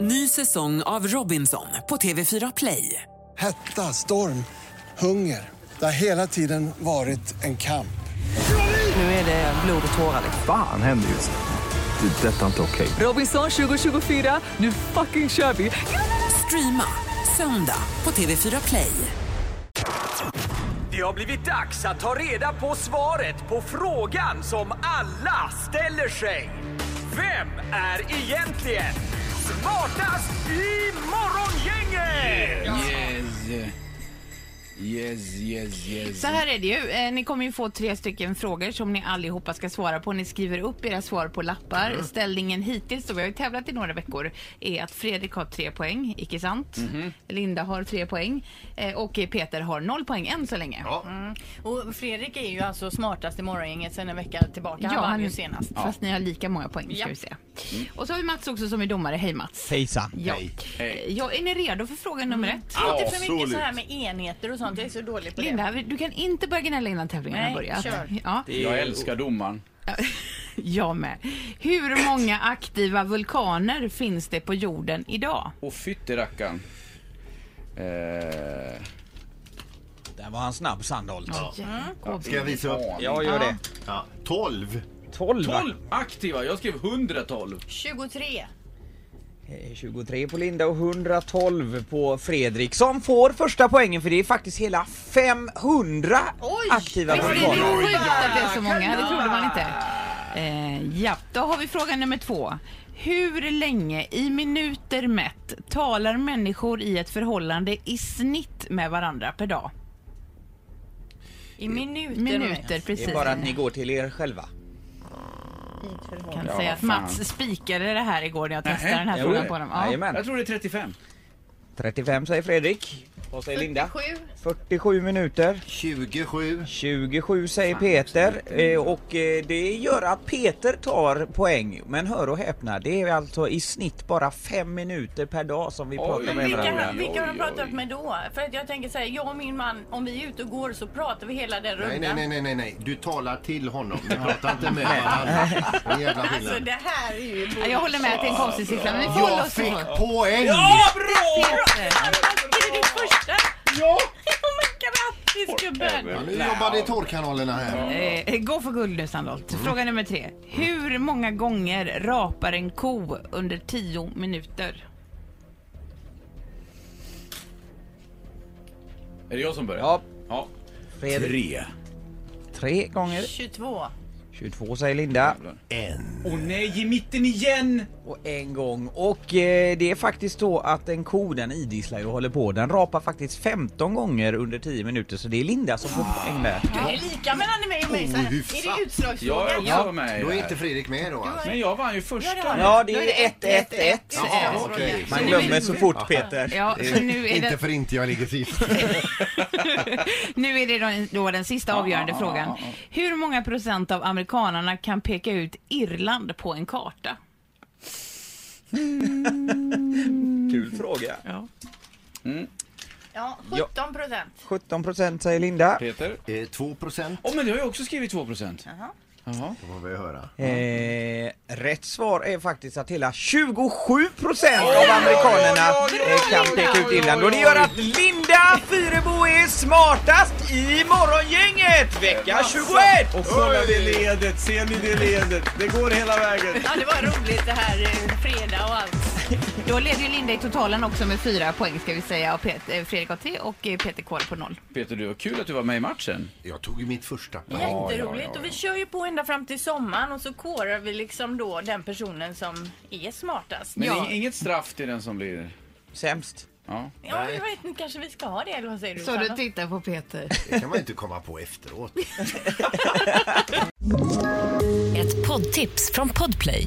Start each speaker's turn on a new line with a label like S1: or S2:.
S1: Ny säsong av Robinson på TV4 Play.
S2: Hetta, storm, hunger. Det har hela tiden varit en kamp.
S1: Nu är det Eh, blod och tårar.
S3: Fan händer just nu. Det. är Detta är inte okej.
S1: Robinson 2024, nu fucking kör vi! Streama söndag på TV4 Play.
S4: Det har blivit dags att ta reda på svaret på frågan som alla ställer sig. Vem är egentligen smartast i Morgongänget?
S5: Yes. Yes, yes, yes.
S6: Så här är det ju. Eh, Ni kommer ju få tre stycken frågor som ni allihopa ska svara på. Ni skriver upp era svar på lappar.
S7: Mm.
S6: Ställningen hittills, då vi har ju tävlat i några veckor, är att Fredrik har tre poäng, icke sant?
S7: Mhm.
S6: Linda har tre poäng eh, och Peter har noll poäng än så länge. Mm. Ja,
S7: Och Fredrik är ju alltså smartast i morgongänget sen en vecka tillbaka. Han vann ju senast.
S6: Fast ni har lika många poäng, ska
S7: Ja. Mm.
S6: vi se. Och så har vi Mats också som är domare. Hej Mats!
S8: Hejsan.
S6: Ja.
S5: Hej.
S6: Eh, Ja, är ni redo för fråga nummer
S7: Mm.
S6: ett?
S7: Inte för mycket
S5: Absolut.
S7: så här med enheter och sånt. Jag är så dålig på det.
S6: Linda, du kan inte börja gnälla innan tävlingen har
S7: Nej,
S6: börjat.
S7: kör.
S6: Ja.
S5: Jag älskar domaren.
S6: Jag med. Hur många aktiva vulkaner finns det på jorden idag?
S5: Och fytterackarn. Eh,
S8: Där var han snabb Sandholt.
S6: Mm.
S9: Ska jag visa upp?
S8: Jag gör det.
S9: Ja. 12.
S8: 12,
S5: 12 aktiva, jag skrev 112.
S7: 23.
S8: 23 Eh, på Linda och 112 på Fredrik som får första poängen för det är faktiskt hela 500 aktiva
S6: Visst är
S8: vulkaner.
S6: det sjukt att det är så många? Det trodde man inte. Eh, ja, då har vi fråga nummer två. Hur länge, i minuter mätt, talar människor i ett förhållande i snitt med varandra per dag?
S7: I minuter.
S6: Minuter,
S8: Det
S6: precis.
S8: är bara att ni går till er själva.
S6: kan
S5: Ja,
S6: säga att
S5: fan.
S6: Mats spikade det här igår när jag testade
S5: Nähä,
S6: den här
S5: gjorde
S6: frågan
S5: det?
S6: på honom. Ja.
S8: Jajamän.
S5: Jag tror det är 35.
S8: 35 säger Fredrik. Vad säger Linda?
S7: 47.
S8: 47 minuter.
S9: 27.
S8: 27 säger Peter eh, och eh, det gör att Peter tar poäng. Men hör och häpna, det är alltså i snitt bara 5 minuter per dag som vi
S5: Oj,
S8: pratar med
S5: men
S8: varandra.
S7: Vilka,
S5: Oj,
S7: vilka har de
S5: oj,
S7: pratat
S5: oj.
S7: med då? För att jag tänker så här, jag och min man, om vi är ute och går så pratar vi hela den
S9: Nej,
S7: rundan.
S9: nej, nej, nej, nej, nej. Du talar till honom. Du pratar inte med varandra. Det är jävla
S7: Alltså
S9: skillnad.
S7: det här är ju...
S6: Ja, Jag håller med att det är en konstig siffra, men vi får hålla
S9: Jag
S6: oss till
S9: fick poäng!
S6: Peter.
S7: Är det ditt första? Ja! men grattis gubben!
S9: Ja, nu jobbar det torrkanalerna här.
S6: Eh, gå för guld nu Sandholt. Fråga nummer tre. Hur många gånger rapar en ko under tio minuter?
S5: Är det jag som börjar?
S8: Ja.
S5: ja.
S8: Fredrik.
S5: Tre.
S8: Tre gånger.
S7: 22.
S8: 22 säger Linda.
S5: Åh nej, i mitten igen!
S8: Och en gång. Och eh, det är faktiskt så att en ko den idisslar ju och håller på. Den rapar faktiskt 15 gånger under 10 minuter så det är Linda som får poäng där.
S7: Du är lika mellan mig och mig. Så här. Är det utslagsfrågan?
S5: Jag är också med i
S9: Då
S5: det
S9: är
S5: här.
S9: inte Fredrik med då alltså.
S5: Men jag vann ju första.
S7: Ja, det har du.
S8: Ja det är 1-1-1.
S9: Jaha, okej.
S8: Man glömmer så fort Peter.
S6: Ja, så nu är
S9: Inte
S6: det,
S9: för inte jag ligger sist.
S6: nu är det då- då den sista avgörande frågan. Hur många procent av amerikanarna kan peka ut Irland på en karta?
S8: Kul fråga.
S7: Ja, 17 procent.
S8: 17% säger Linda.
S5: Peter?
S9: Eh, 2 procent
S5: Åh men du har ju också skrivit 2 procent. Jaha.
S9: får vi höra.
S8: Eh, rätt svar är faktiskt att hela 27% av amerikanerna eh, kan peka ut Irland. Och det gör att Linda Fyrebo är smartast i Morgongänget vecka 21!
S3: Och kolla det ledet, ser ni det ledet? Det går hela vägen.
S7: Ja, det var roligt det här eh, fredag och allt.
S6: Då leder ju Linda i totalen också med fyra poäng ska vi säga. Och Pet, eh, Fredrik har tre och eh, Peter Kåre på noll.
S5: Peter, du var kul att du var med i matchen.
S9: Jag tog ju mitt första.
S5: ja, ja,
S7: Jätteroligt.
S5: ja.
S7: Och vi kör ju på ända fram till sommaren och så kårar vi liksom då den personen som är smartast.
S5: Men
S6: Ja.
S5: ing- inget straff till den som blir...
S8: Sämst.
S5: Ja.
S7: Ja, jag vet inte, kanske vi ska ha det eller vad säger du?
S6: Så du
S7: Sanna?
S6: tittar på Peter.
S9: Det kan man ju inte komma på efteråt.
S10: Ett poddtips från Podplay.